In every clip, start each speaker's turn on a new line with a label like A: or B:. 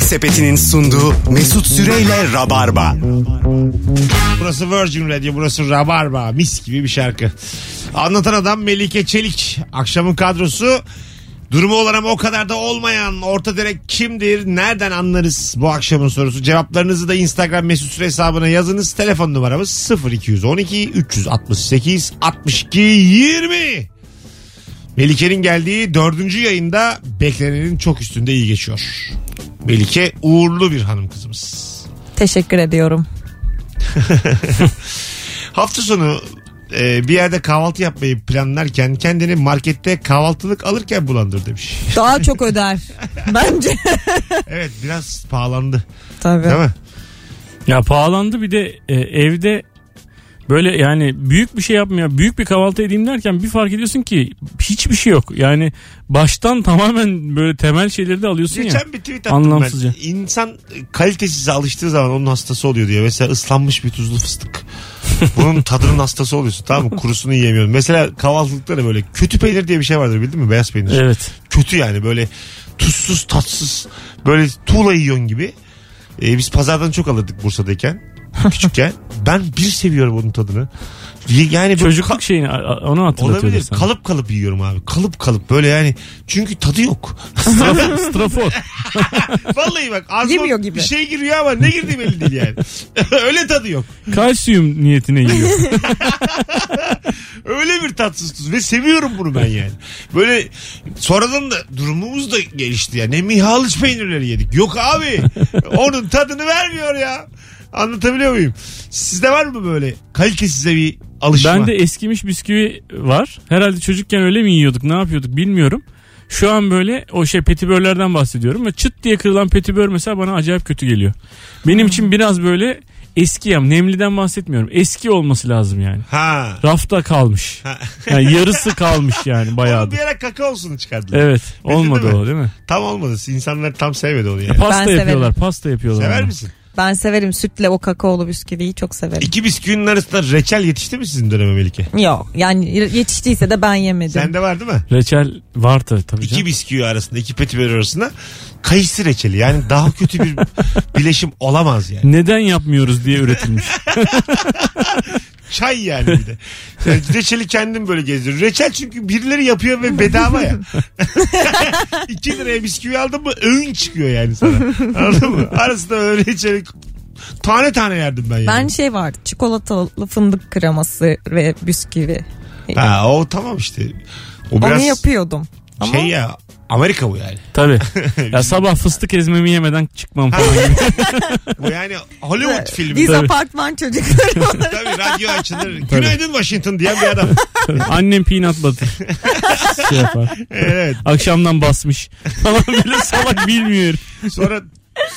A: Sepeti'nin sunduğu Mesut Süreyle Rabarba.
B: Burası Virgin Radio, burası Rabarba. Mis gibi bir şarkı. Anlatan adam Melike Çelik. Akşamın kadrosu durumu olan ama o kadar da olmayan orta direk kimdir? Nereden anlarız bu akşamın sorusu? Cevaplarınızı da Instagram mesut süre hesabına yazınız. Telefon numaramız 0212 368 62 20. Melike'nin geldiği dördüncü yayında beklenenin çok üstünde iyi geçiyor. Melike uğurlu bir hanım kızımız.
C: Teşekkür ediyorum.
B: Hafta sonu e, bir yerde kahvaltı yapmayı planlarken kendini markette kahvaltılık alırken bulandır demiş.
C: Daha çok öder. Bence.
B: Evet biraz pahalandı
C: Tabii.
B: değil mi?
D: Ya pahalandı bir de e, evde böyle yani büyük bir şey yapmıyor. Büyük bir kahvaltı edeyim derken bir fark ediyorsun ki hiçbir şey yok. Yani baştan tamamen böyle temel şeyleri de alıyorsun ya.
B: Geçen bir tweet attım
D: Anlamsızca.
B: ben. İnsan kalitesiz alıştığı zaman onun hastası oluyor diye. Mesela ıslanmış bir tuzlu fıstık. Bunun tadının hastası oluyorsun tamam mı? Kurusunu yiyemiyorsun. Mesela kahvaltılıkta da böyle kötü peynir diye bir şey vardır bildin mi? Beyaz peynir.
D: Evet.
B: kötü yani böyle tuzsuz tatsız böyle tuğla yiyorsun gibi. Ee, biz pazardan çok alırdık Bursa'dayken küçükken. ben bir seviyorum onun tadını. Y- Yani böyle ka-
D: Çocukluk şeyini a- a- onu hatırlatıyor.
B: olabilir.
D: sana.
B: Kalıp kalıp yiyorum abi. Kalıp kalıp böyle yani. Çünkü tadı yok.
D: Strafor. strafor.
B: Vallahi bak ağzıma
C: Girmiyor gibi.
B: bir şey giriyor ama ne girdi belli değil yani. Öyle tadı yok.
D: Kalsiyum niyetine yiyor.
B: Öyle bir tatsız tuz ve seviyorum bunu ben yani. Böyle sonradan da durumumuz da gelişti ya. Ne mihalıç peynirleri yedik. Yok abi onun tadını vermiyor ya. Anlatabiliyor muyum? Sizde var mı böyle kalitesize bir alışma?
D: Bende eskimiş bisküvi var. Herhalde çocukken öyle mi yiyorduk ne yapıyorduk bilmiyorum. Şu an böyle o şey petibörlerden bahsediyorum. Ve çıt diye kırılan petibör mesela bana acayip kötü geliyor.
B: Hmm.
D: Benim için biraz böyle eski yam. Nemliden bahsetmiyorum. Eski olması lazım yani.
B: Ha.
D: Rafta kalmış.
B: Ha.
D: Yani yarısı kalmış yani
B: Onu
D: bayağıdır.
B: bir ara kakaosunu çıkardılar.
D: Evet
B: Bildin
D: olmadı
B: mi?
D: o değil mi?
B: Tam olmadı. İnsanlar tam sevmedi onu yani.
D: Pasta
C: severim.
D: yapıyorlar pasta yapıyorlar.
B: Sever
D: onu.
B: misin?
C: Ben severim sütle o kakaolu bisküviyi çok severim.
B: İki bisküvinin arasında reçel yetişti mi sizin döneme Melike?
C: Yok yani yetiştiyse de ben yemedim.
B: Sende var değil mi?
D: Reçel var tabii tabii
B: İki
D: canım.
B: bisküvi arasında, iki petibör arasında kayısı reçeli. Yani daha kötü bir bileşim olamaz yani.
D: Neden yapmıyoruz diye üretilmiş.
B: Çay yani bir de. Yani reçeli kendim böyle geziyorum. Reçel çünkü birileri yapıyor ve bedava ya. 2 liraya bisküvi aldın mı öğün çıkıyor yani sana. Anladın mı? Arasında öyle reçeli tane tane yerdim ben yani.
C: Ben şey vardı çikolatalı fındık kreması ve bisküvi.
B: Ha, o tamam işte. O
C: Onu
B: biraz
C: yapıyordum. Ama
B: şey ya Amerika bu yani.
D: tabii. Ya sabah fıstık ezmemi yemeden çıkmam falan.
B: Bu yani Hollywood filmi.
C: biz
D: Tabii.
C: apartman çocukları olarak
B: Tabii radyo açılır. Günaydın Washington diyen bir adam.
D: Annem peanut butter. şey yapar.
B: Evet.
D: Akşamdan basmış. Falan böyle salak bilmiyor.
B: Sonra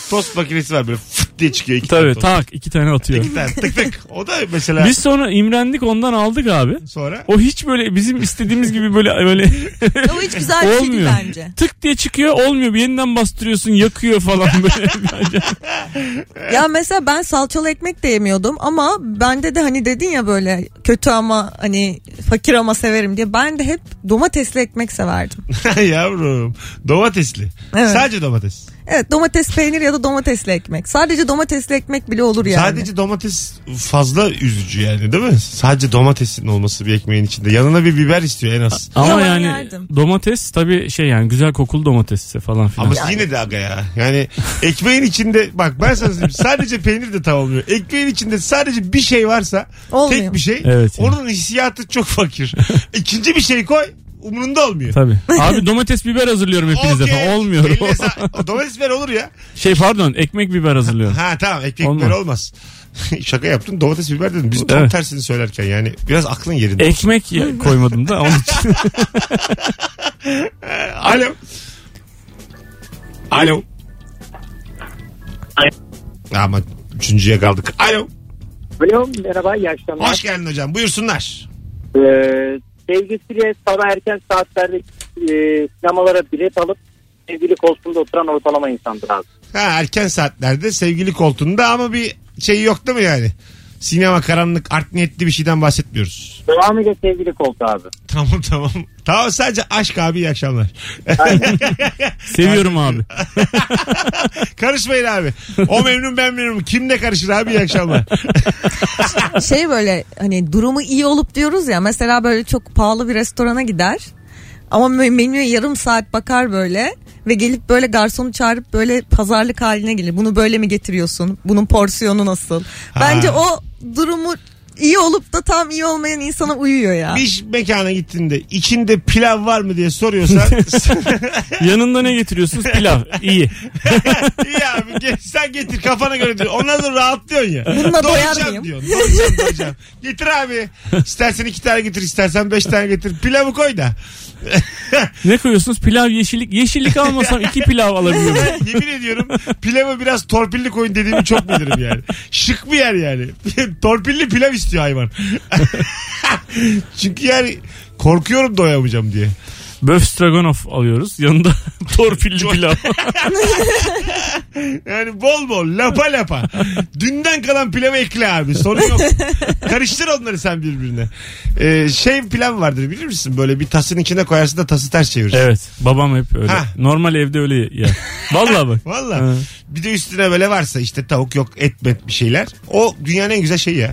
B: tost makinesi var böyle fıt diye çıkıyor iki
D: Tabii
B: tane tost.
D: tak iki tane atıyor.
B: Bir tane tık tık. O da mesela
D: Biz sonra imrendik ondan aldık abi.
B: sonra
D: O hiç böyle bizim istediğimiz gibi böyle böyle
C: o hiç güzel bir şey değil
D: olmuyor.
C: bence.
D: Tık diye çıkıyor olmuyor. Bir yeniden bastırıyorsun yakıyor falan böyle.
C: Ya mesela ben salçalı ekmek de yemiyordum ama bende de hani dedin ya böyle kötü ama hani fakir ama severim diye ben de hep domatesli ekmek severdim.
B: yavrum domatesli.
C: Evet.
B: Sadece domates.
C: Evet domates peynir ya da domatesli ekmek. Sadece domatesli ekmek bile olur yani.
B: Sadece domates fazla üzücü yani değil mi? Sadece domatesin olması bir ekmeğin içinde. Yanına bir biber istiyor en az.
D: Ama
C: Yalan
D: yani
C: yerdim.
D: domates tabii şey yani güzel kokulu domatesse falan filan.
B: Ama yine de aga ya. Yani ekmeğin içinde bak ben sana söyleyeyim sadece peynir de tam olmuyor. Ekmeğin içinde sadece bir şey varsa
C: Olmuyor.
B: tek bir şey
D: Evet.
B: onun hissiyatı çok fakir. İkinci bir şey koy umurunda olmuyor.
D: Tabii. Abi domates biber hazırlıyorum hepinize
B: Okey. Şey,
D: falan. Olmuyor.
B: Elle sa- domates biber olur ya.
D: şey pardon ekmek biber hazırlıyorum.
B: Ha tamam ekmek
D: Olmaz.
B: biber olmaz. Şaka yaptın domates biber dedim. Biz tam
D: Evet.
B: tersini söylerken yani biraz aklın yerinde.
D: Ekmek ya- koymadım da onun için.
B: Alo. Alo. Ama üçüncüye kaldık. Alo.
E: Alo merhaba iyi akşamlar.
B: Hoş geldin hocam. Buyursunlar.
E: Ee, sevgisiyle sabah erken saatlerde e, sinemalara bilet alıp sevgili koltuğunda oturan ortalama insandır abi.
B: Ha, erken saatlerde sevgili koltuğunda ama bir şey yok değil mi yani? sinema karanlık art niyetli bir şeyden bahsetmiyoruz.
E: Devamıyla sevgili koltuğu abi.
B: Tamam tamam. Tamam sadece aşk abi iyi akşamlar.
D: Seviyorum abi.
B: Karışmayın abi. O memnun ben memnun. Kim ne karışır abi iyi akşamlar.
C: şey böyle hani durumu iyi olup diyoruz ya mesela böyle çok pahalı bir restorana gider ama me- menüye yarım saat bakar böyle ve gelip böyle garsonu çağırıp böyle pazarlık haline gelir. Bunu böyle mi getiriyorsun? Bunun porsiyonu nasıl? Bence
B: Ha.
C: o durumu iyi olup da tam iyi olmayan insana uyuyor ya.
B: Bir mekana gittiğinde içinde pilav var mı diye soruyorsan
D: Yanında ne getiriyorsunuz? Pilav. İyi.
B: İyi abi gel- sen getir kafana göre diyor. Ondan sonra rahatlıyorsun ya.
C: Bununla doyar
B: Doyacağım
C: mıyım?
B: diyorsun. Doyacağım doyacağım. Getir abi. İstersen iki tane getir istersen beş tane getir. Pilavı koy da.
D: Ne koyuyorsunuz? Pilav yeşillik. Yeşillik almasam iki pilav alabiliyorum.
B: Yemin ediyorum pilavı biraz torpilli koyun dediğimi çok bilirim yani. Şık bir yer yani. torpilli pilav istiyor hayvan. Çünkü yani korkuyorum doyamayacağım diye.
D: Böf stroganoff alıyoruz. Yanında torpilli pilav.
B: Yani bol bol lapa lapa. Dünden kalan pilavı ekle abi. Sorun yok. Karıştır onları sen birbirine. Ee, şey pilav vardır bilir misin? Böyle bir tasın içine koyarsın da tası ters çevirirsin.
D: evet. Babam hep öyle.
B: Ha.
D: Normal evde öyle yer. Vallahi bak.
B: Valla.
D: Ha.
B: Bir de üstüne böyle varsa işte tavuk yok et met bir şeyler. O dünyanın en güzel şeyi ya.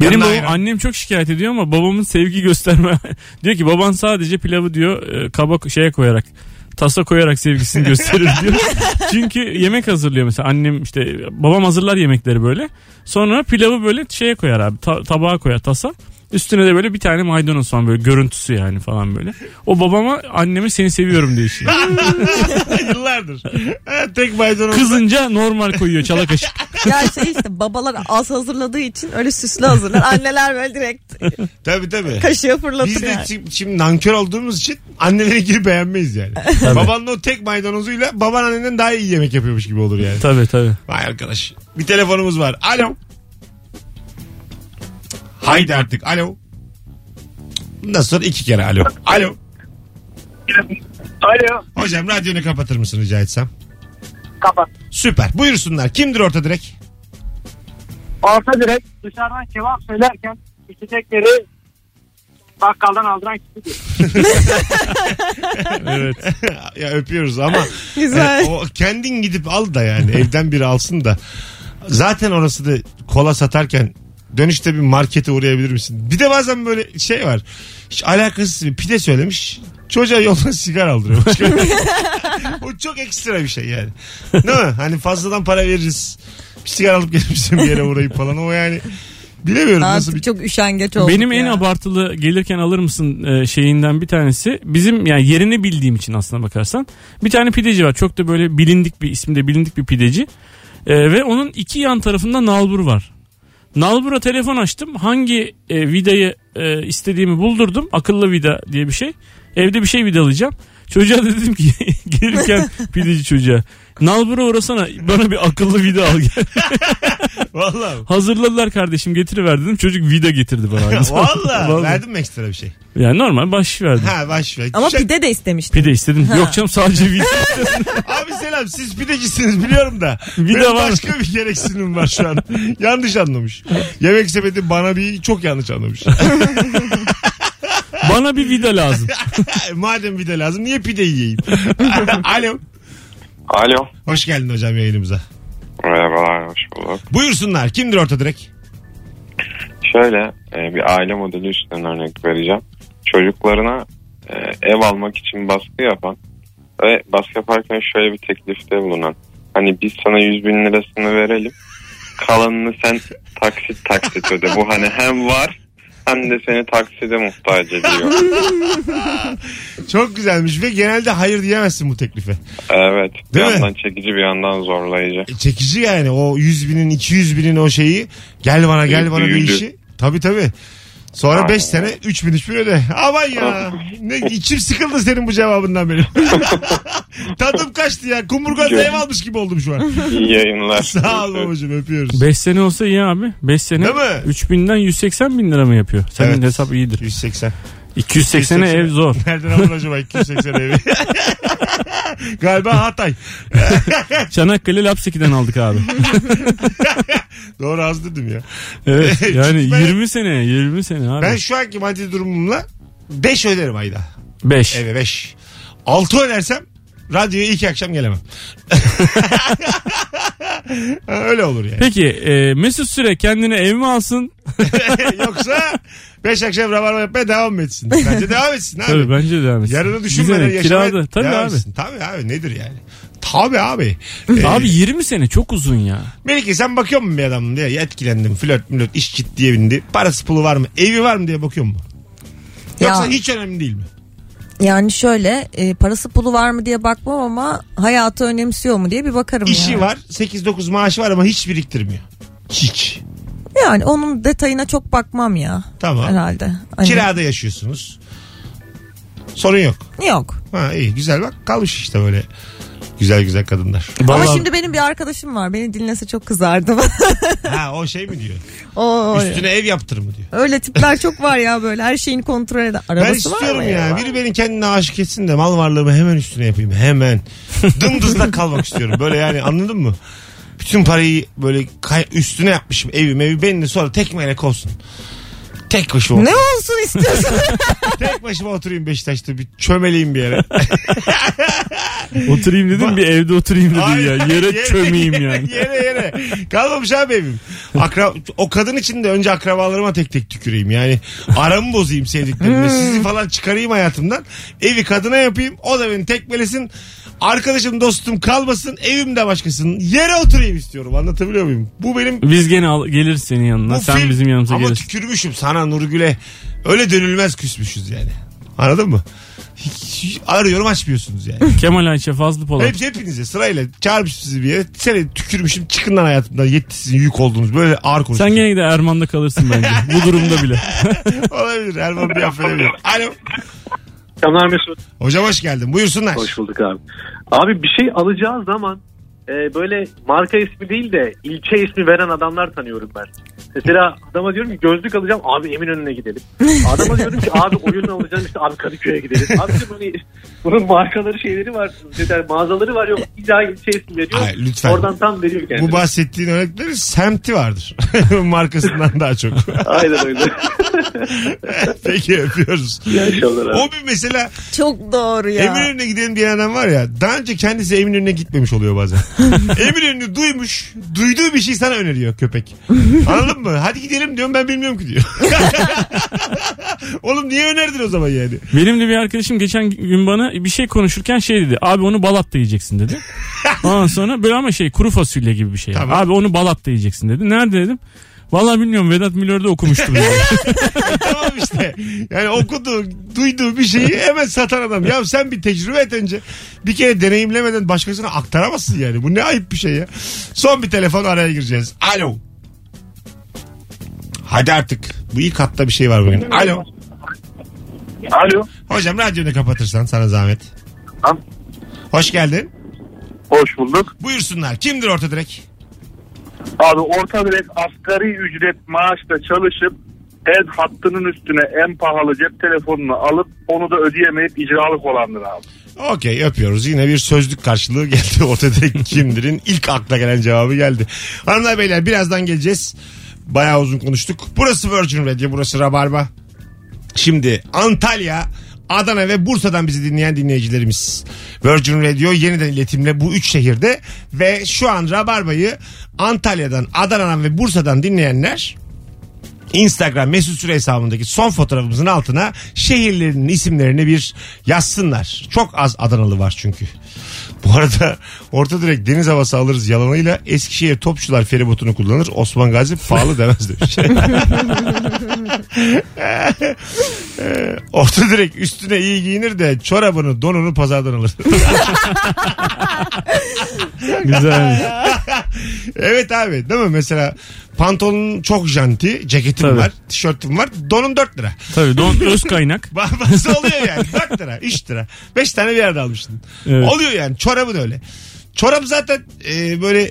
D: Benim
B: Yanına
D: babam,
B: ayran.
D: annem çok şikayet ediyor ama babamın sevgi gösterme. diyor ki baban sadece pilavı diyor e, kaba şeye koyarak tasa koyarak sevgisini gösterir diyor. Çünkü yemek hazırlıyor mesela annem işte babam hazırlar yemekleri böyle. Sonra pilavı böyle şeye koyar abi ta- tabağa koyar tasa. Üstüne de böyle bir tane maydanoz falan böyle görüntüsü yani falan böyle. O babama anneme seni seviyorum diyor işte.
B: Yıllardır. Ha, Tek maydanoz.
D: Kızınca normal koyuyor çala kaşık.
C: ya şey işte babalar az hazırladığı için öyle süslü hazırlar. Anneler böyle direkt
B: Tabii tabii.
C: kaşığı fırlatır
B: Biz de
C: yani.
B: şimdi, şimdi nankör olduğumuz için annelerinkini beğenmeyiz yani. Babanın o tek maydanozuyla baban annenden daha iyi yemek yapıyormuş gibi olur yani.
D: Tabii tabii.
B: Vay arkadaş. Bir telefonumuz var. Alo. Haydi artık. Alo. Bundan sonra iki kere alo. Alo.
E: Alo.
B: Hocam radyonu kapatır mısın rica etsem?
E: Kapat.
B: Süper. Buyursunlar. Kimdir orta direk?
E: Orta direkt dışarıdan kebap söylerken içecekleri bakkaldan aldıran kişidir.
D: Evet.
B: ya öpüyoruz ama
C: Güzel.
B: e, o kendin gidip al da yani evden biri alsın da. Zaten orası da kola satarken dönüşte bir markete uğrayabilir misin? Bir de bazen böyle şey var. Hiç alakasız bir pide söylemiş. Çocuğa yoldan sigara aldırıyor. Başka bir- o çok ekstra bir şey yani. Değil mi? Hani fazladan para veririz. Bir sigara alıp gelmişsin bir yere uğrayıp falan. O yani bilemiyorum nasıl bir...
C: Artık çok üşengeç olduk
D: Benim en
C: ya.
D: abartılı gelirken alır mısın e, şeyinden bir tanesi. Bizim yani yerini bildiğim için aslına bakarsan. Bir tane pideci var. Çok da böyle bilindik bir isimde bilindik bir pideci. E, ve onun iki yan tarafında nalbur var. Nalbur'a telefon açtım. Hangi e, vidayı e, istediğimi buldurdum. Akıllı vida diye bir şey. Evde bir şey vidalayacağım. Çocuğa da dedim ki gelirken pideci çocuğa. Nalbur'a uğrasana bana bir akıllı vida al gel.
B: Vallahi.
D: Hazırladılar kardeşim getiriver dedim. Çocuk vida getirdi bana.
B: Vallahi. Verdin mi ekstra bir şey?
D: Yani normal baş verdim.
B: Ha baş ver.
C: Ama
B: Şey-
C: pide de istemiştim.
D: Pide istedim. Yok canım sadece vida.
B: Abi selam siz pidecisiniz biliyorum da.
D: Bir de
B: Benim
D: var.
B: başka bir gereksinim var şu an. yanlış anlamış. Yemek sepeti bana bir çok yanlış anlamış.
D: Bana bir vida lazım.
B: Madem pide lazım niye pide yiyeyim? Alo.
F: Alo.
B: Hoş geldin hocam yayınımıza.
F: Merhabalar, hoş bulduk.
B: Buyursunlar. Kimdir orta direk?
F: Şöyle e, bir aile modeli üstünden örnek vereceğim. Çocuklarına e, ev almak için baskı yapan ve baskı yaparken şöyle bir teklifte bulunan. Hani biz sana 100 bin lirasını verelim. Kalanını sen taksit taksit öde. Bu hani hem var hem de seni takside muhtaç ediyor.
B: Çok güzelmiş ve genelde hayır diyemezsin bu teklife.
F: Evet. Bir
B: Değil mi?
F: yandan çekici bir yandan zorlayıcı.
B: E, çekici yani o 100 binin 200 binin o şeyi gel bana gel bana bir
F: Büyüdü.
B: işi. Tabii tabii. Sonra
F: Aynen.
B: 5 sene 3 bin 3 bin öde. Aman ya. Ne, içim sıkıldı senin bu cevabından benim. Tadım kaçtı ya. Kumburgaz ev almış gibi oldum şu an.
F: İyi yayınlar.
B: Sağ ol babacığım öpüyoruz.
D: 5 sene olsa iyi abi. 5 sene
B: Değil mi?
D: 3000'den 180 bin lira mı yapıyor? Senin
B: Evet.
D: hesap iyidir.
B: 180.
D: 280'e
B: 180'e
D: ev zor.
B: Nereden aldın acaba 280 evi? Galiba Hatay.
D: Çanakkale Lapseki'den aldık abi.
B: Doğru az dedim ya.
D: Evet yani
B: Ben-
D: 20 sene 20 sene
B: Ben
D: abi.
B: şu anki maddi durumumla 5 öderim ayda.
D: 5.
B: Eve 5. 6 ödersem radyoya iki akşam gelemem. Öyle olur yani.
D: Peki e, Mesut Süre kendine ev mi alsın?
B: Yoksa 5 akşam rabarba yapmaya devam mı etsin. Bence devam etsin abi.
D: Tabii bence devam etsin.
B: Yarını
D: Güzel,
B: düşünmeden yaşamaya
D: Kirada. Tabii
B: devam
D: abi.
B: etsin. Tabii abi nedir yani? Tabii abi. Ee,
D: Abi 20 sene çok uzun ya.
B: Melike sen bakıyor musun bir adamın diye Ya etkilendim flört mülört iş ciddiye bindi. Parası pulu var mı? Evi var mı diye bakıyor musun? Yoksa
C: Ya.
B: hiç önemli değil mi?
C: Yani şöyle e, parası pulu var mı diye bakmam ama hayatı önemsiyor mu diye bir bakarım
B: İşi
C: yani.
B: var 8-9 maaşı var ama hiç biriktirmiyor. Hiç.
C: Yani onun detayına çok bakmam ya
B: Tamam.
C: herhalde. Hani-
B: Kirada yaşıyorsunuz. Sorun yok.
C: Yok.
B: Ha iyi güzel bak kalmış işte böyle güzel güzel kadınlar.
D: Vallahi-
C: Ama şimdi benim bir arkadaşım var. Beni dinlese çok kızardı.
B: Ha o şey mi diyor?
C: o,
B: Üstüne ev yaptır mı diyor.
C: Öyle tipler çok var ya böyle her şeyini kontrol eden. Arabası
B: Ben
C: var
B: istiyorum
C: mı
B: ya. Biri beni kendine aşık etsin de mal varlığımı hemen üstüne yapayım. Hemen. Dımdızda kalmak istiyorum. Böyle yani anladın mı? Bütün parayı böyle kay- üstüne yapmışım evim evi beni de sonra tekmeyle kovsun. Tek başıma.
C: Ne olsun istiyorsun?
B: Tek başıma oturayım Beşiktaş'ta bir çömeleyim bir yere.
D: Oturayım dedim bir evde oturayım dedim
B: Ay,
D: ya. Yere, çömeyim
B: yere,
D: yani.
B: Yere yere. Kalmamış abi evim. Akra, o kadın için de önce akrabalarıma tek tek tüküreyim. Yani aramı bozayım sevdiklerimle.
D: Hmm.
B: Sizi falan çıkarayım hayatımdan. Evi kadına yapayım. O da beni tekmelesin. Arkadaşım dostum kalmasın. Evim de başkasının. Yere oturayım istiyorum. Anlatabiliyor muyum? Bu benim...
D: Biz gene al, geliriz senin yanına.
B: bu
D: Sen
B: film-
D: bizim yanımıza
B: Ama
D: gelirsin.
B: tükürmüşüm sana Nurgül'e. Öyle dönülmez küsmüşüz yani. Anladın mı? Hiç- Arıyorum açmıyorsunuz yani.
D: Kemal Ayşe Fazlı Polat.
B: Hep hepinize sırayla çağırmışım sizi bir yere. Seni tükürmüşüm çıkın lan hayatımdan yetti sizin yük oldunuz. Böyle ağır konuşuyorsunuz.
D: Sen gene de Erman'da kalırsın bence. Bu durumda bile.
B: Olabilir Erman bir affedebilir. Alo.
G: Selamlar Mesut.
B: Hocam hoş geldin buyursunlar.
G: Hoş bulduk abi. Abi bir şey alacağı zaman e, böyle marka ismi değil de ilçe ismi veren adamlar tanıyorum ben. Mesela adama diyorum ki gözlük alacağım abi Eminönü'ne gidelim. Adama diyorum ki abi oyun alacağım işte abi Kadıköy'e gidelim. Abi diyorum hani bunun markaları şeyleri var şeyler, mağazaları var yok illa ilçe ismi veriyor.
B: Ay, lütfen.
G: Oradan tam veriyor kendini.
B: Bu bahsettiğin örneklerin semti vardır. Markasından daha çok.
G: Aynen öyle.
B: Peki yapıyoruz.
G: İyi akşamlar abi.
B: O bir mesela
C: çok doğru ya.
B: Eminönü'ne gidelim diyen adam var ya daha önce kendisi Eminönü'ne gitmemiş oluyor bazen. Eminönü'nü duymuş duyduğu bir şey sana öneriyor köpek. Anladın mı? Hadi gidelim diyorum ben bilmiyorum ki diyor. Oğlum niye önerdin o zaman yani?
D: Benim de bir arkadaşım geçen gün bana bir şey konuşurken şey dedi. Abi onu Balat'ta yiyeceksin dedi. Ondan sonra böyle ama şey kuru fasulye gibi bir şey.
B: Tamam.
D: Abi onu Balat'ta yiyeceksin dedi. Nerede dedim. Vallahi bilmiyorum Vedat Milor'da okumuştum. dedi.
B: tamam işte. Yani okuduğu, duyduğu bir şeyi hemen satan adam. Ya sen bir tecrübe et önce. Bir kere deneyimlemeden başkasına aktaramazsın yani. Bu ne ayıp bir şey ya. Son bir telefon araya gireceğiz. Alo. Hadi artık. Bu ilk hatta bir şey var bugün. Alo.
E: Alo.
B: Hocam radyonu kapatırsan sana zahmet.
E: Tamam.
B: Hoş geldin.
E: Hoş bulduk.
B: Buyursunlar. Kimdir orta direk?
E: Abi orta direkt asgari ücret maaşla çalışıp el hattının üstüne en pahalı cep telefonunu alıp onu da ödeyemeyip icralık olandır abi.
B: Okey öpüyoruz. Yine bir sözlük karşılığı geldi. Orta direkt kimdirin ilk akla gelen cevabı geldi. Hanımlar beyler birazdan geleceğiz. Bayağı uzun konuştuk. Burası Virgin Radio, burası Rabarba. Şimdi Antalya, Adana ve Bursa'dan bizi dinleyen dinleyicilerimiz. Virgin Radio yeniden iletimle bu üç şehirde ve şu an Rabarba'yı Antalya'dan, Adana'dan ve Bursa'dan dinleyenler Instagram mesut süre hesabındaki son fotoğrafımızın altına şehirlerinin isimlerini bir yazsınlar. Çok az Adanalı var çünkü. Bu arada orta direkt deniz havası alırız yalanıyla Eskişehir Topçular feribotunu kullanır. Osman Gazi pahalı demez demiş. Ee, orta direkt üstüne iyi giyinir de çorabını donunu pazardan alır.
D: Güzel.
B: evet abi değil mi mesela pantolonun çok janti ceketim
D: Tabii.
B: var tişörtüm var donun 4 lira.
D: Tabii don, öz kaynak.
B: Bazı oluyor yani. 4 lira, 3 lira. 5 tane bir yerde almıştın.
D: Evet.
B: Oluyor yani. Çorabı da öyle. Çorap zaten e, böyle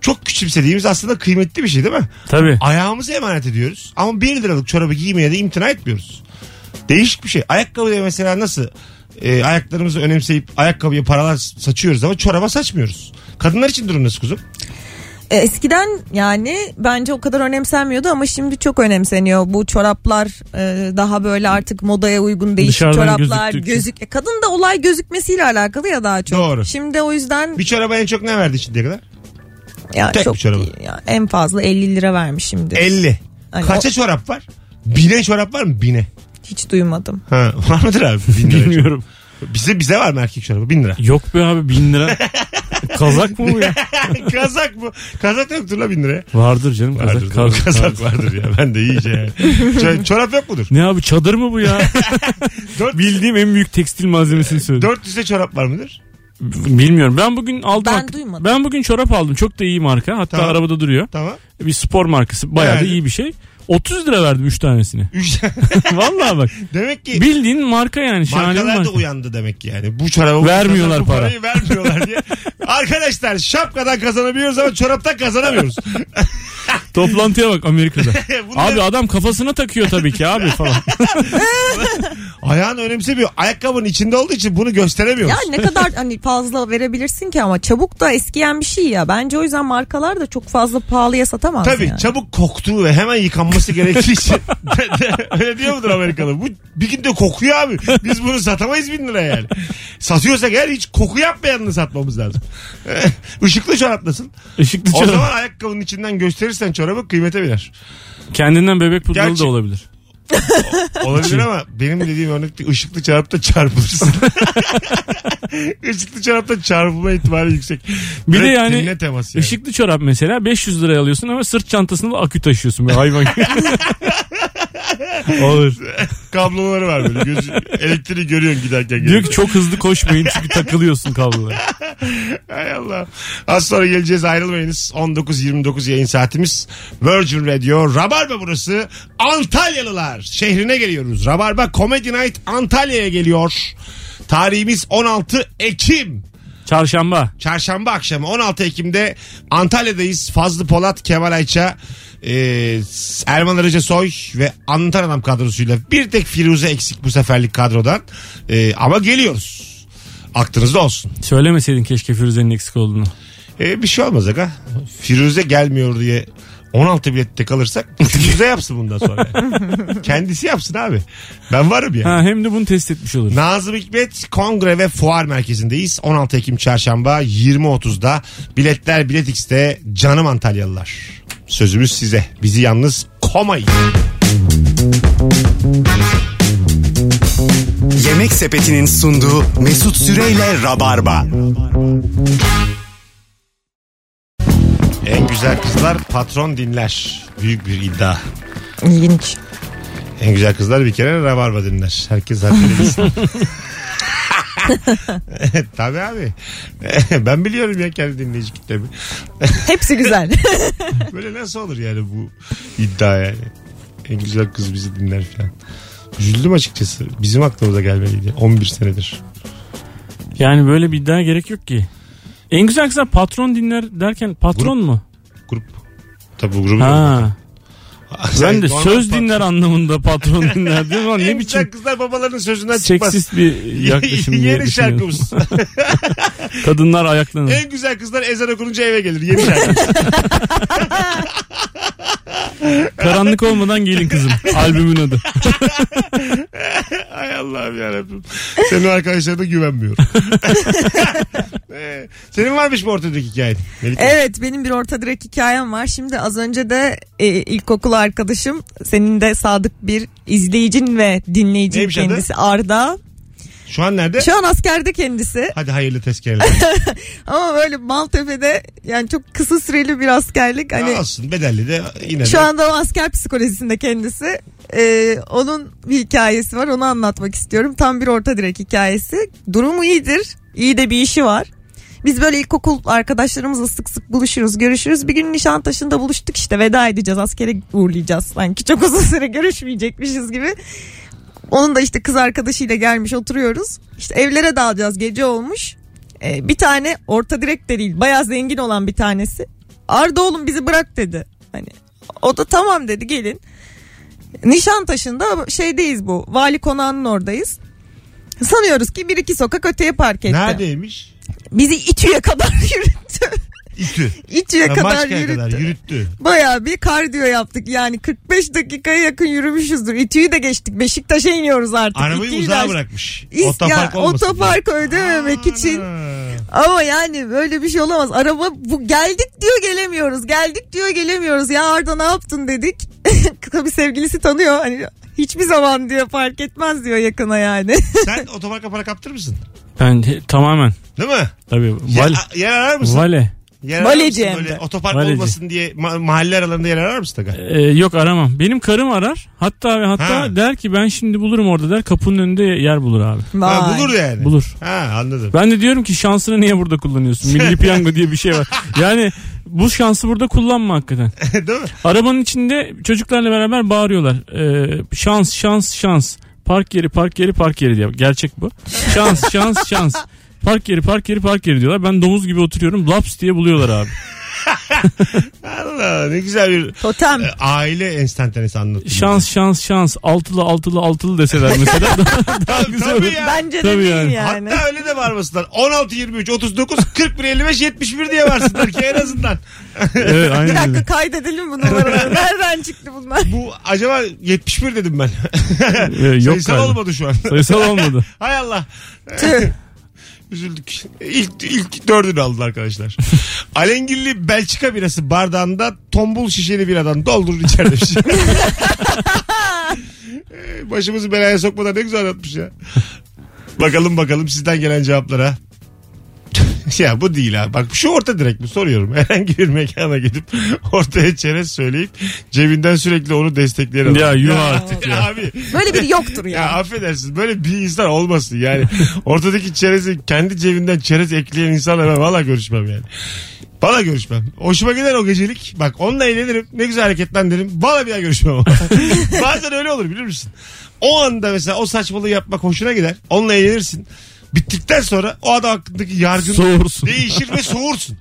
B: çok küçümsediğimiz aslında kıymetli bir şey değil mi?
D: Tabii.
B: Ayağımızı emanet ediyoruz. Ama 1 liralık çorabı giymeye de imtina etmiyoruz. Değişik bir şey. Ayakkabı da mesela nasıl e, ayaklarımızı önemseyip ayakkabıya paralar saçıyoruz ama çoraba saçmıyoruz. Kadınlar için durum nasıl kuzum?
C: E, Eskiden yani bence o kadar önemsenmiyordu ama şimdi çok önemseniyor. Bu çoraplar e, daha böyle artık modaya uygun değişik
D: Dışarıdan
C: çoraplar
D: gözüktüğü için.
C: gözük. E, Kadın da olay gözükmesiyle alakalı ya daha çok.
B: Doğru.
C: Şimdi o yüzden
B: Bir çoraba en çok ne verdi şimdiye kadar?
C: ya
B: tek
C: çok
B: bir çorabı. E,
C: değil ya. en fazla 50 lira vermiş şimdi.
B: 50.
C: Hani
B: Kaça çorap var? Bine çorap var mı? Bine.
C: Hiç duymadım.
B: Ha, var mıdır abi? Bin lira
D: Bilmiyorum.
B: çorap. Bize bize var mı erkek çorabı? Bin lira.
D: Yok be abi bin lira. Kazak mı bu ya?
B: Kazak mı? Kazak da yoktur la bin liraya.
D: Vardır canım kazak.
B: Vardır,
D: kazak,
B: kazak,
D: vardır.
B: vardır ya. Ben de iyice. ya. Ço- çorap yok mudur?
D: Ne abi çadır mı bu ya?
B: Dört- Ee,
D: Bildiğim en büyük tekstil malzemesini söyledim.
B: 400'e çorap var mıdır?
D: Bilmiyorum. Ben bugün
C: Ben
D: aldım. hak-
C: duymadım.
D: Ben bugün çorap aldım. Çok da iyi marka. Hatta
B: Tamam.
D: arabada duruyor.
B: Tamam.
D: Bir spor markası. Bayağı da
B: Yani.
D: iyi bir şey. 30 lira verdim 3 tanesini.
B: Üç-
D: Vallahi bak.
B: demek ki
D: Bildiğin marka yani. Şahane bir
B: markalar da
D: marka.
B: uyandı demek ki yani. Bu çorabı
D: Vermiyorlar
B: bu
D: para.
B: parayı vermiyorlar diye. Arkadaşlar şapkadan kazanabiliyoruz ama çoraptan kazanamıyoruz.
D: Toplantıya bak Amerika'da.
B: Bunlar-
D: abi adam kafasına takıyor tabii ki abi falan.
B: Ayağını önemsemiyor. Ayakkabının içinde olduğu için bunu gösteremiyoruz.
C: Ya ne kadar hani fazla verebilirsin ki ama çabuk da eskiyen bir şey ya. Bence o yüzden markalar da çok fazla pahalıya satamaz.
B: Tabii
C: yani.
B: çabuk koktuğu ve hemen yıkanması gerektiği için. Öyle diyor mudur Amerikalı? Bu bir günde kokuyor abi. Biz bunu satamayız bin lira yani. Satıyorsak eğer hiç koku yapmayanını satmamız lazım. Işıklı çorap nasıl?
D: Işıklı
B: O zaman
D: çorap.
B: ayakkabının içinden gösterirsen çorabı kıymete biner.
D: Kendinden bebek pudralı
B: Gerçi-
D: da olabilir.
B: Olabilir ama benim dediğim örnekte ışıklı çorapta çarpılırsın. Işıklı çorapta çarpılma ihtimali yüksek.
D: Bir de
B: Direkt
D: yani
B: diline temas yani.
D: Işıklı çorap mesela 500 liraya alıyorsun ama sırt çantasında akü taşıyorsun böyle hayvan gibi. Olur.
B: kabloları var böyle. Göz, elektriği görüyorsun giderken.
D: Diyor ki çok hızlı koşmayın çünkü takılıyorsun kablolara.
B: Hay Allah. Az sonra geleceğiz ayrılmayınız. 19.29 yayın saatimiz. Virgin Radio. Rabarba burası. Antalyalılar. Şehrine geliyoruz. Rabarba Comedy Night Antalya'ya geliyor. Tarihimiz 16 Ekim.
D: Çarşamba.
B: Çarşamba akşamı 16 Ekim'de Antalya'dayız. Fazlı Polat, Kemal Ayça, e, Erman Arıca Soy ve Anlatan Adam kadrosuyla bir tek Firuze eksik bu seferlik kadrodan. E, ama geliyoruz. Aklınızda olsun.
D: Söylemeseydin keşke Firuze'nin eksik olduğunu.
B: E, bir şey olmaz aga. Firuze gelmiyor diye 16 bilette kalırsak Firuze yapsın bundan sonra. yani. Kendisi yapsın abi. Ben varım ya.
D: Ha, hem de bunu test etmiş olur.
B: Nazım Hikmet Kongre ve Fuar Merkezi'ndeyiz. 16 Ekim Çarşamba 20.30'da biletler Bilet X'te canım Antalyalılar. Sözümüz size. Bizi yalnız komayın.
A: Yemek Sepeti'nin sunduğu Mesut Süreyle Rabarba.
B: En güzel kızlar patron dinler. Büyük bir iddia.
C: İlginç.
B: En güzel kızlar bir kere rabarba dinler. Herkes haddini bilsin. Tabii abi. ben biliyorum ya kendi dinleyici kitlemi.
C: Hepsi güzel.
B: Böyle nasıl olur yani bu iddia yani. En güzel kız bizi dinler falan. Üzüldüm açıkçası. Bizim aklımıza gelmeliydi. 11 senedir.
D: Yani böyle bir iddiaya gerek yok ki. En güzel kızlar patron dinler derken patron mu?
B: Grup. Tabii bu grubun.
D: Ha.
B: Sen
D: Ben de
B: normal
D: söz
B: patron-
D: dinler anlamında patron dinler diyorum
B: En
D: ama ne
B: güzel
D: biçim
B: kızlar babalarının sözünden çıkmaz.
D: seksist bir yaklaşım diye
B: Yeni
D: düşünüyorum.
B: şarkımız.
D: Kadınlar ayaklanır.
B: en güzel kızlar ezan okununca eve gelir. Yeni şarkı.
D: Karanlık olmadan gelin kızım. Albümün adı.
B: Ay Allah'ım yarabbim. Senin arkadaşlarına güvenmiyorum. Ee, Senin varmış mı ortadaki hikayen? Melike?
C: Evet benim bir orta direk hikayem var. Şimdi az önce de e, ilkokul arkadaşım senin de sadık bir izleyicin ve dinleyicin
B: Neymiş adı?
C: kendisi Arda.
B: Şu an nerede?
C: Şu an askerde kendisi
B: Hadi hayırlı tezkereler.
C: ama böyle Maltepe'de yani çok kısa süreli bir askerlik. Hani
B: Olsun bedelli de yine de.
C: şu anda o asker psikolojisinde kendisi. Ee, onun bir hikayesi var onu anlatmak istiyorum. Tam bir orta direk hikayesi. Durumu iyidir. İyi de bir işi var. Biz böyle ilkokul arkadaşlarımızla sık sık buluşuruz, görüşürüz. Bir gün Nişantaşı'nda buluştuk işte veda edeceğiz, askere uğurlayacağız sanki. Çok uzun süre görüşmeyecekmişiz gibi. Onun da işte kız arkadaşıyla gelmiş oturuyoruz. İşte evlere dağılacağız gece olmuş. Ee, bir tane orta direkt de değil bayağı zengin olan bir tanesi. Arda oğlum bizi bırak dedi. Hani o da tamam dedi gelin. Nişantaşı'nda şeydeyiz bu. Vali konağının oradayız. Sanıyoruz ki bir iki sokak öteye park etti.
B: Neredeymiş?
C: Bizi İTÜ'ye kadar yürüttü.
B: İTÜ.
C: İTÜ'ye
B: Ha,
C: kadar
B: Maçka'ya
C: yürüttü.
B: kadar yürüttü.
C: Bayağı bir kardiyo yaptık yani 45 dakikaya yakın yürümüşüzdür. İTÜ'yü de geçtik Beşiktaş'a iniyoruz artık.
B: Arabayı
C: İTÜ'yü
B: uzağa
C: de-
B: bırakmış.
C: İs-
B: otopark
C: ya,
B: olmasın.
C: otopark ödememek için.
B: Ana.
C: Ama yani böyle bir şey olamaz. Araba bu geldik diyor gelemiyoruz. Geldik diyor gelemiyoruz. Ya Arda ne yaptın dedik. Tabii sevgilisi tanıyor. Hani hiçbir zaman diyor fark etmez diyor yakına yani.
B: Sen otoparka para kaptırır mısın?
D: Ben he- tamamen.
B: Değil mi?
D: Tabii.
B: Ya-
D: Val,
B: yer arar mısın?
D: vale.
B: Yer arar
C: Valeci
B: mısın
C: hem
B: böyle
C: de.
B: otopark
D: Valeci.
B: olmasın diye ma- mahalle aralarında yer arar mısın? Taka?
D: Ee, yok aramam. Benim karım arar. Hatta ve hatta
B: Ha.
D: der ki ben şimdi bulurum orada der. Kapının önünde yer bulur abi.
B: Ha,
C: Vay.
B: bulur yani.
D: Bulur.
B: Ha anladım.
D: Ben de diyorum ki şansını niye burada kullanıyorsun? Milli piyango diye bir şey var. Yani bu şansı burada kullanma hakikaten.
B: Değil mi?
D: Arabanın içinde çocuklarla beraber bağırıyorlar. Ee, şans şans şans. Park yeri park yeri park yeri diye. Gerçek bu. Şans şans şans. Park yeri park yeri park yeri diyorlar. Ben domuz gibi oturuyorum. Laps diye buluyorlar abi.
B: Allah ne güzel bir
C: Totem.
B: e, aile enstantanesi anlattın.
D: Şans şans şans. Altılı altılı altılı deseler mesela. daha, daha
B: Tabii,
D: güzel
B: tabii
D: olur.
B: ya.
C: Bence
D: Tabii
C: de değil
D: yani.
C: yani.
B: Hatta öyle de bağırmasınlar. 16, 23, 39, 41, 55, 71 diye varsınlar ki en azından.
D: Evet,
C: Bir
D: aynen öyle.
C: dakika kaydedelim bu numaraları. Nereden çıktı bunlar?
B: Bu acaba 71 dedim ben.
D: Ee, yok
B: Sayısal
D: galiba.
B: olmadı şu an.
D: Sayısal olmadı.
B: Hay Allah.
C: Tüh.
B: Üzüldük. İlk, ilk dördünü aldılar arkadaşlar. Alengirli Belçika birası bardağında tombul şişeli biradan doldurun içeride bir şey. Ee, Başımızı belaya sokmadan ne güzel anlatmış ya. Bakalım bakalım sizden gelen cevaplara. ya bu değil ha. Bak şu orta direkt mi soruyorum. Herhangi bir mekana gidip ortaya çerez söyleyip cebinden sürekli onu destekleyen adam.
D: Ya yuh artık ya.
B: Abi
C: Böyle bir yoktur ya.
B: ya affedersin böyle bir insan olmasın yani. Ortadaki çerezi kendi cebinden çerez ekleyen insanla ben valla görüşmem yani. Valla görüşmem. Hoşuma gider o gecelik. Bak onunla eğlenirim. Ne güzel hareketlen derim. Valla bir daha görüşmem ama. Bazen öyle olur bilir misin? O anda mesela o saçmalığı yapmak hoşuna gider. Onunla eğlenirsin. Bittikten sonra o adam hakkındaki yargın
D: Soğursun.
B: değişir ve soğursun.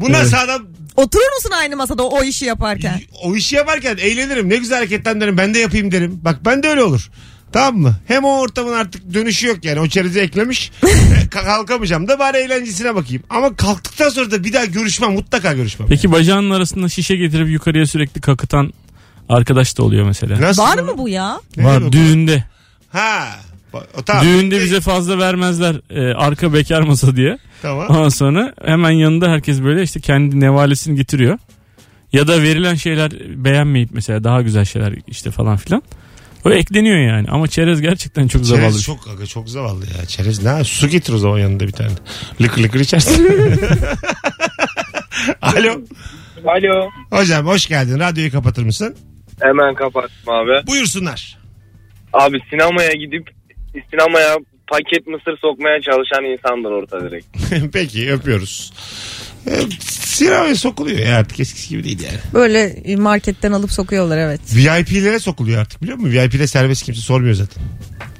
B: Bu nasıl adam
C: Oturur musun aynı masada o işi yaparken?
B: o işi yaparken eğlenirim. Ne güzel hareketler derim. Ben de yapayım derim. Bak ben de öyle olur. Tamam mı? Hem o ortamın artık dönüşü yok yani. O çerezi eklemiş. E, ka- Kalkamayacağım da bari eğlencesine bakayım. Ama kalktıktan sonra da bir daha görüşmem. Mutlaka görüşmem.
D: Peki bacağının arasında şişe getirip yukarıya sürekli kakıtan arkadaş da oluyor mesela.
B: Nasıl
C: Var
B: bu?
C: mı bu ya?
B: Ne
D: Var
B: demek
D: düğünde.
B: Ha. Ba- O, tamam.
D: Düğünde
B: E,
D: bize fazla vermezler e, arka bekar masa diye.
B: Tamam.
D: Ondan sonra hemen yanında herkes böyle işte kendi nevalesini getiriyor. Ya da verilen şeyler beğenmeyip mesela daha güzel şeyler işte falan filan. O ekleniyor yani ama çerez gerçekten çok zavallı.
B: Çerez
D: bir şey.
B: çok aga, çok zavallı ya. Çerez ne? Su getir o zaman yanında bir tane. Lıkır lıkır içersin. Alo.
E: Alo.
B: Hocam hoş geldin. Radyoyu kapatır mısın?
E: Hemen kapattım abi.
B: Buyursunlar.
E: Abi sinemaya gidip sinemaya paket mısır sokmaya çalışan insandır orta direkt.
B: Peki öpüyoruz. Ee, Sinemaya sokuluyor ya artık eskisi gibi değil yani.
C: Böyle marketten alıp sokuyorlar evet.
B: VIP'lere sokuluyor artık biliyor musun? VIP'de serbest kimse sormuyor zaten.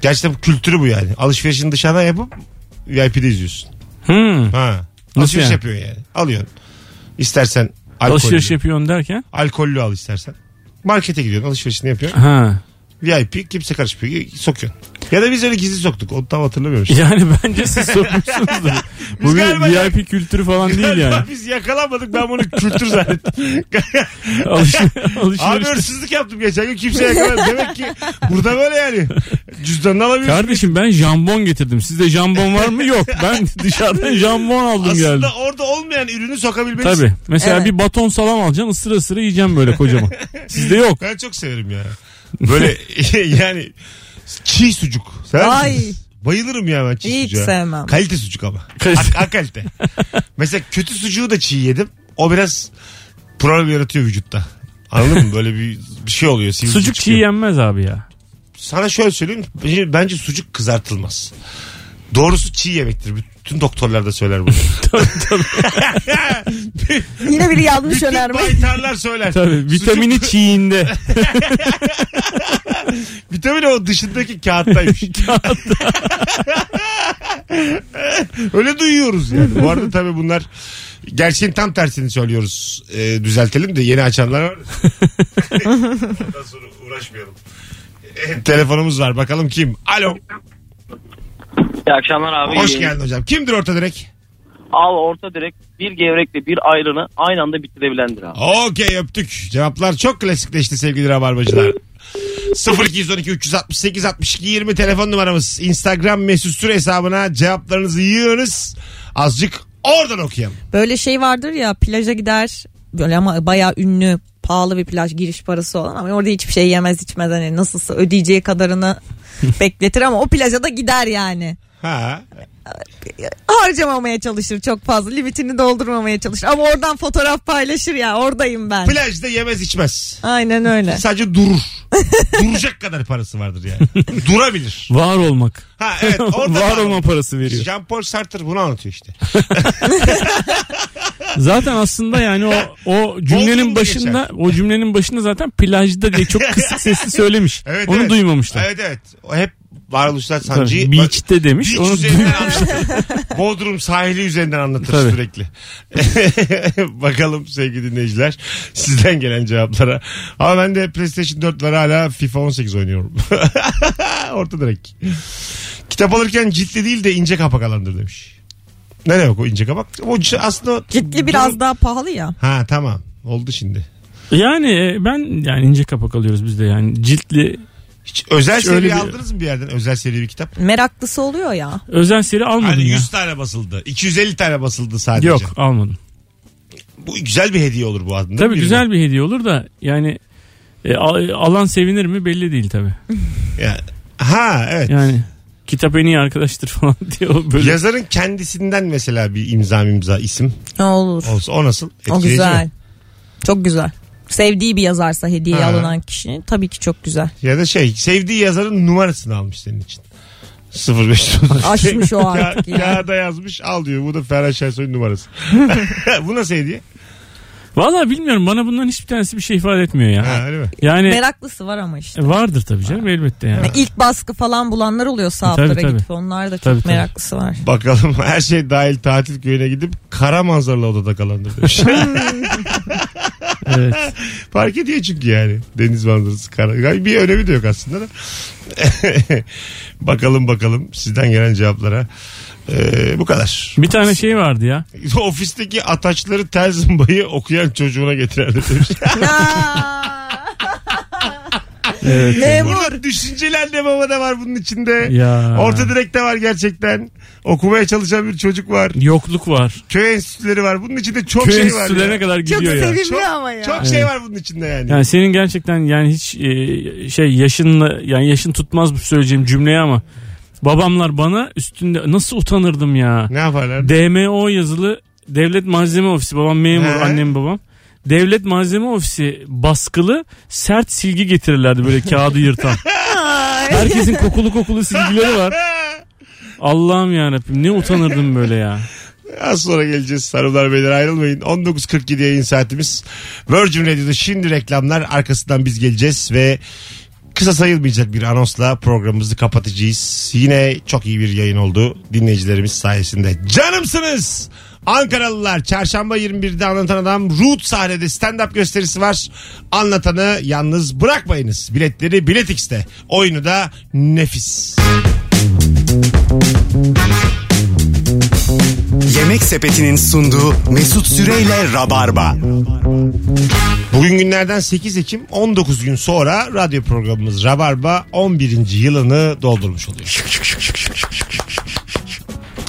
B: Gerçekten bu kültürü bu yani. Alışverişini dışarıdan yapıp VIP'de izliyorsun.
D: Hmm.
B: Ha. Alışveriş
D: yani?
B: yapıyorsun yani. Alıyorsun. İstersen
D: Alışveriş
B: alkollü,
D: yapıyorsun derken.
B: alkollü al istersen. Markete gidiyorsun alışverişini yapıyorsun.
D: Ha.
B: VIP kimse karışmıyor sokuyorsun. Ya da biz öyle gizli soktuk. Onu tam hatırlamıyorum. şimdi.
D: Yani bence siz sormuşsunuzdur.
B: Biz
D: Bu bir
B: galiba-
D: VIP kültürü falan değil yani.
B: Biz yakalanmadık ben bunu kültür zannettim.
D: Alış,
B: Abi
D: alışveriş.
B: hırsızlık yaptım geçen gün kimseye yakalanmadım. Demek ki burada böyle yani. Cüzdanını alamıyorsun.
D: Kardeşim ben jambon getirdim. Sizde jambon var mı? Yok. Ben dışarıdan jambon aldım
B: Aslında
D: geldim.
B: orada olmayan ürünü sokabilmelisin.
D: Tabii. Mesela
C: Evet.
D: bir baton salam alacaksın ısıra ısıra yiyeceğim böyle kocaman. Sizde yok.
B: Ben çok severim ya. Böyle yani çiğ sucuk. Sever
C: Ay.
B: misiniz? Bayılırım ya ben çiğ
C: Hiç
B: sucuğa.
C: sevmem.
B: Kalite sucuk ama.
D: Kalite.
B: A, kalite. Mesela kötü sucuğu da çiğ yedim. O biraz problem yaratıyor vücutta. Anladın mı? Böyle bir, bir şey oluyor. sivri
D: Sucuk çiğ
B: çıkıyor.
D: yenmez abi ya.
B: Sana şöyle söyleyeyim. Bence, bence sucuk kızartılmaz. Doğrusu çiğ yemektir. Bütün doktorlar da söyler bunu.
C: Yine biri yanlış
B: Bütün
C: önerme.
B: baytarlar söyler.
D: Tabii vitamini
B: Sucuk-
D: çiğinde.
B: Vitamin o dışındaki kağıttaymış. Öyle duyuyoruz yani. Bu arada tabii bunlar gerçeğin tam tersini söylüyoruz. Ee, düzeltelim de yeni açanlar var. Ondan sonra uğraşmayalım. Ee, telefonumuz var. Bakalım kim? Alo.
H: İyi akşamlar abi.
B: Hoş
H: Ee,
B: geldin hocam. Kimdir orta direk?
H: Al orta direkt bir gevrekle bir ayranı aynı anda bitirebilendir abi.
B: Okey öptük. Cevaplar çok klasikleşti sevgili rabarbacılar. 0212 368 62 20 telefon numaramız. Instagram mesut süre hesabına cevaplarınızı yığınız. Azıcık oradan okuyalım.
C: Böyle şey vardır ya plaja gider böyle ama bayağı ünlü pahalı bir plaj giriş parası olan ama orada hiçbir şey yemez içmez hani nasılsa ödeyeceği kadarını bekletir ama o plaja da gider yani.
B: Ha.
C: Harcamamaya çalışır çok fazla limitini doldurmamaya çalışır ama oradan fotoğraf paylaşır ya oradayım ben.
B: Plajda yemez içmez.
C: Aynen öyle.
B: Sadece durur. Duracak kadar parası vardır yani. Durabilir.
D: Var olmak.
B: Ha evet. Orada
D: Var
B: da-
D: olma parası veriyor.
B: Jean-Paul Sartre bunu anlatıyor işte.
D: Zaten aslında yani o o
B: Bozgun
D: cümlenin
B: geçer.
D: başında o cümlenin başında zaten plajda diye çok kısık sesli söylemiş.
B: Evet,
D: Onu
B: evet.
D: duymamışlar.
B: Evet evet. O hep varoluşlar sancıyı...
D: Tabii, Beach'te demiş.
B: Beach
D: Onu
B: üzerinden anlatır. Bodrum sahili üzerinden anlatır
D: Tabii.
B: sürekli. Bakalım sevgili dinleyiciler sizden gelen cevaplara. Ama ben de PlayStation 4 var hala FIFA 18 oynuyorum. Orta direkt. Kitap alırken ciltli değil de ince kapak alındır demiş. Ne demek o ince kapak? O c- aslında...
C: Ciddi biraz daha pahalı ya.
B: Ha tamam. Oldu şimdi.
D: yani e, ben yani ince kapak alıyoruz biz de yani ciltli
B: Hiç özel
D: Hiç
B: seri
D: öyle bir-
B: aldınız mı bir yerden? Özel seri bir kitap.
C: Meraklısı oluyor ya.
D: özel seri almadım
B: Hani
D: ya.
B: 100 tane basıldı. 250 tane basıldı sadece.
D: Yok almadım.
B: Bu güzel bir hediye olur bu aslında.
D: Tabii
B: Birine.
D: güzel bir hediye olur da yani e, al- alan sevinir mi belli değil tabii.
B: Ya- Ha evet.
D: Yani kitap en iyi arkadaştır falan diye o böyle.
B: Yazarın kendisinden mesela bir imza imza isim
C: Ne olur.
B: olsa o nasıl?
C: O
B: Etkileyici
C: güzel.
B: mi?
C: Çok güzel. Sevdiği bir yazarsa hediye
B: Ha.
C: alınan kişinin tabii ki çok güzel.
B: Ya da şey sevdiği yazarın numarasını almış senin için. 05
C: Aşmış o artık
B: Ka-
C: yani.
B: Kağıda yazmış al diyor. Bu da Ferhan Şensoy'un numarası. bu nasıl hediye?
D: Valla bilmiyorum bana bunların hiçbir tanesi bir şey ifade etmiyor ya.
B: Ha, öyle mi?
D: Yani
C: Meraklısı var ama işte.
D: e, vardır tabii canım elbette yani.
C: Yani ilk baskı falan bulanlar oluyor sahaflara
D: Tabii, tabii.
C: gidip. Onlar da çok
D: Tabii, tabii.
C: meraklısı var.
B: Bakalım her şey dahil tatil köyüne gidip kara manzaralı odada kalandır demiş.
D: Evet.
B: Fark ediyor çünkü yani. Deniz manzarası kara. Yani bir önemi de yok aslında da. bakalım bakalım sizden gelen cevaplara. Ee, bu kadar.
D: Bir tane şey vardı ya.
B: Ofisteki ataçları tel zımbayı okuyan çocuğuna getirenler demiş.
C: Memur.
B: Burada düşünceler de baba da var bunun içinde.
D: Ya.
B: Orta direkte var gerçekten. Okumaya çalışan bir çocuk var.
D: Yokluk var.
B: Köy enstitüleri var. Bunun içinde çok
D: Köy
B: şey var.
D: enstitülerine
B: ya.
D: kadar
C: Çok
D: gidiyor ya.
C: sevimli
B: Çok-
C: ama ya.
B: Çok şey var bunun içinde yani.
D: Yani senin gerçekten yani hiç e, şey yaşınla yani yaşın tutmaz bu söyleyeceğim cümleyi ama babamlar bana üstünde nasıl utanırdım ya.
B: Ne yaparlar?
D: DMO yazılı devlet malzeme ofisi babam memur
B: He.
D: annem babam. Devlet malzeme ofisi baskılı sert silgi getirirlerdi böyle kağıdı yırtan. Herkesin kokulu kokulu silgileri var. Allah'ım yarabbim ne utanırdım böyle ya.
B: Az sonra geleceğiz. Sarılar beyler ayrılmayın. 19.47 yayın saatimiz. Virgin Radio'da şimdi reklamlar. Arkasından biz geleceğiz ve kısa sayılmayacak bir anonsla programımızı kapatacağız. Yine çok iyi bir yayın oldu dinleyicilerimiz sayesinde. Canımsınız. Ankaralılar çarşamba 21'de anlatan adam Root sahnede stand-up gösterisi var. Anlatanı yalnız bırakmayınız. Biletleri Bilet X'te. Oyunu da nefis.
A: Yemek Sepeti'nin sunduğu Mesut Süreyle Rabarba.
B: Bugün günlerden 8 Ekim 19 gün sonra radyo programımız Rabarba 11. yılını doldurmuş oluyor.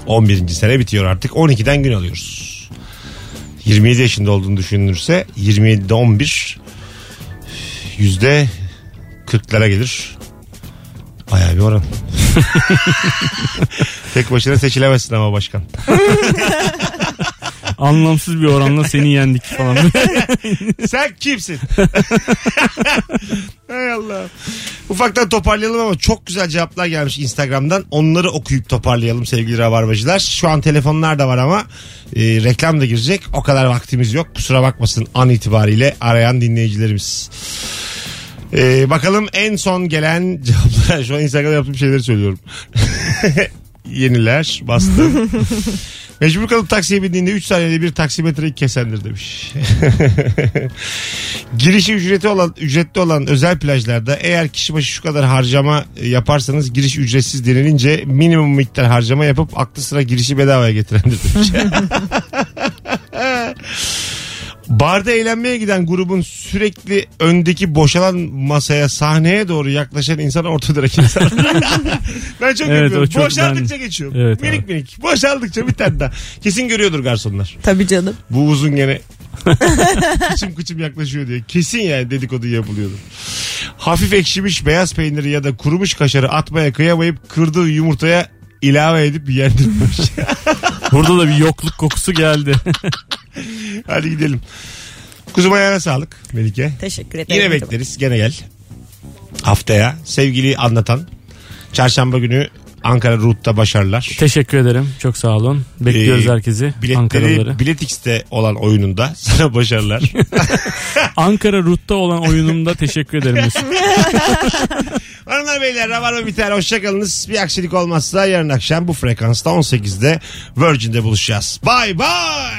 B: 11. sene bitiyor artık 12'den gün alıyoruz. 27 yaşında olduğunu düşünülürse 27'de 11 yüzde 40'lara gelir. Bayağı bir oran. Tek başına seçilemezsin ama başkan.
D: Anlamsız bir oranla seni yendik falan.
B: Sen kimsin? Hay Allah. Ufaktan toparlayalım ama çok güzel cevaplar gelmiş Instagram'dan. Onları okuyup toparlayalım sevgili rabarbacılar. Şu an telefonlar da var ama e, reklam da girecek. O kadar vaktimiz yok. Kusura bakmasın an itibariyle arayan dinleyicilerimiz. E, bakalım en son gelen cevaplar. Şu an Instagram yaptığım şeyleri söylüyorum. yeniler bastı. Mecbur kalıp taksiye bindiğinde 3 saniyede bir taksimetreyi kesendir demiş. Girişi ücreti olan ücretli olan özel plajlarda eğer kişi başı şu kadar harcama e, yaparsanız giriş ücretsiz denilince minimum miktar harcama yapıp aklı sıra girişi bedavaya getirendir demiş. Barda eğlenmeye giden grubun sürekli öndeki boşalan masaya sahneye doğru yaklaşan insan orta direk insan. ben çok
D: Evet, o
B: evet,
D: çok
B: Boşaldıkça
D: ben-
B: geçiyor.
D: Evet
B: minik minik. Boşaldıkça bir tane daha. Kesin görüyordur garsonlar.
C: Tabii canım.
B: Bu uzun gene kıçım kıçım yaklaşıyor diye. Kesin yani dedikodu yapılıyordu. Hafif ekşimiş beyaz peyniri ya da kurumuş kaşarı atmaya kıyamayıp kırdığı yumurtaya ilave edip yendirmiş.
D: Burada da bir yokluk kokusu geldi.
B: Hadi gidelim. Kuzum ayağına sağlık Melike.
C: Teşekkür ederim.
B: Yine bekleriz. Gene gel. Haftaya sevgili anlatan. Çarşamba günü Ankara Root'ta başarılar.
D: Teşekkür ederim. Çok sağ olun. Bekliyoruz
B: Ee,
D: herkesi. Ankaralıları.
B: Biletleri Bilet X'te olan oyununda sana başarılar.
D: Ankara Rut'ta olan oyunumda teşekkür ederim Mesut.
B: Hanımlar beyler Rabarba biter. Hoşçakalınız. Bir aksilik olmazsa yarın akşam bu frekansta 18'de Virgin'de buluşacağız. Bay bay.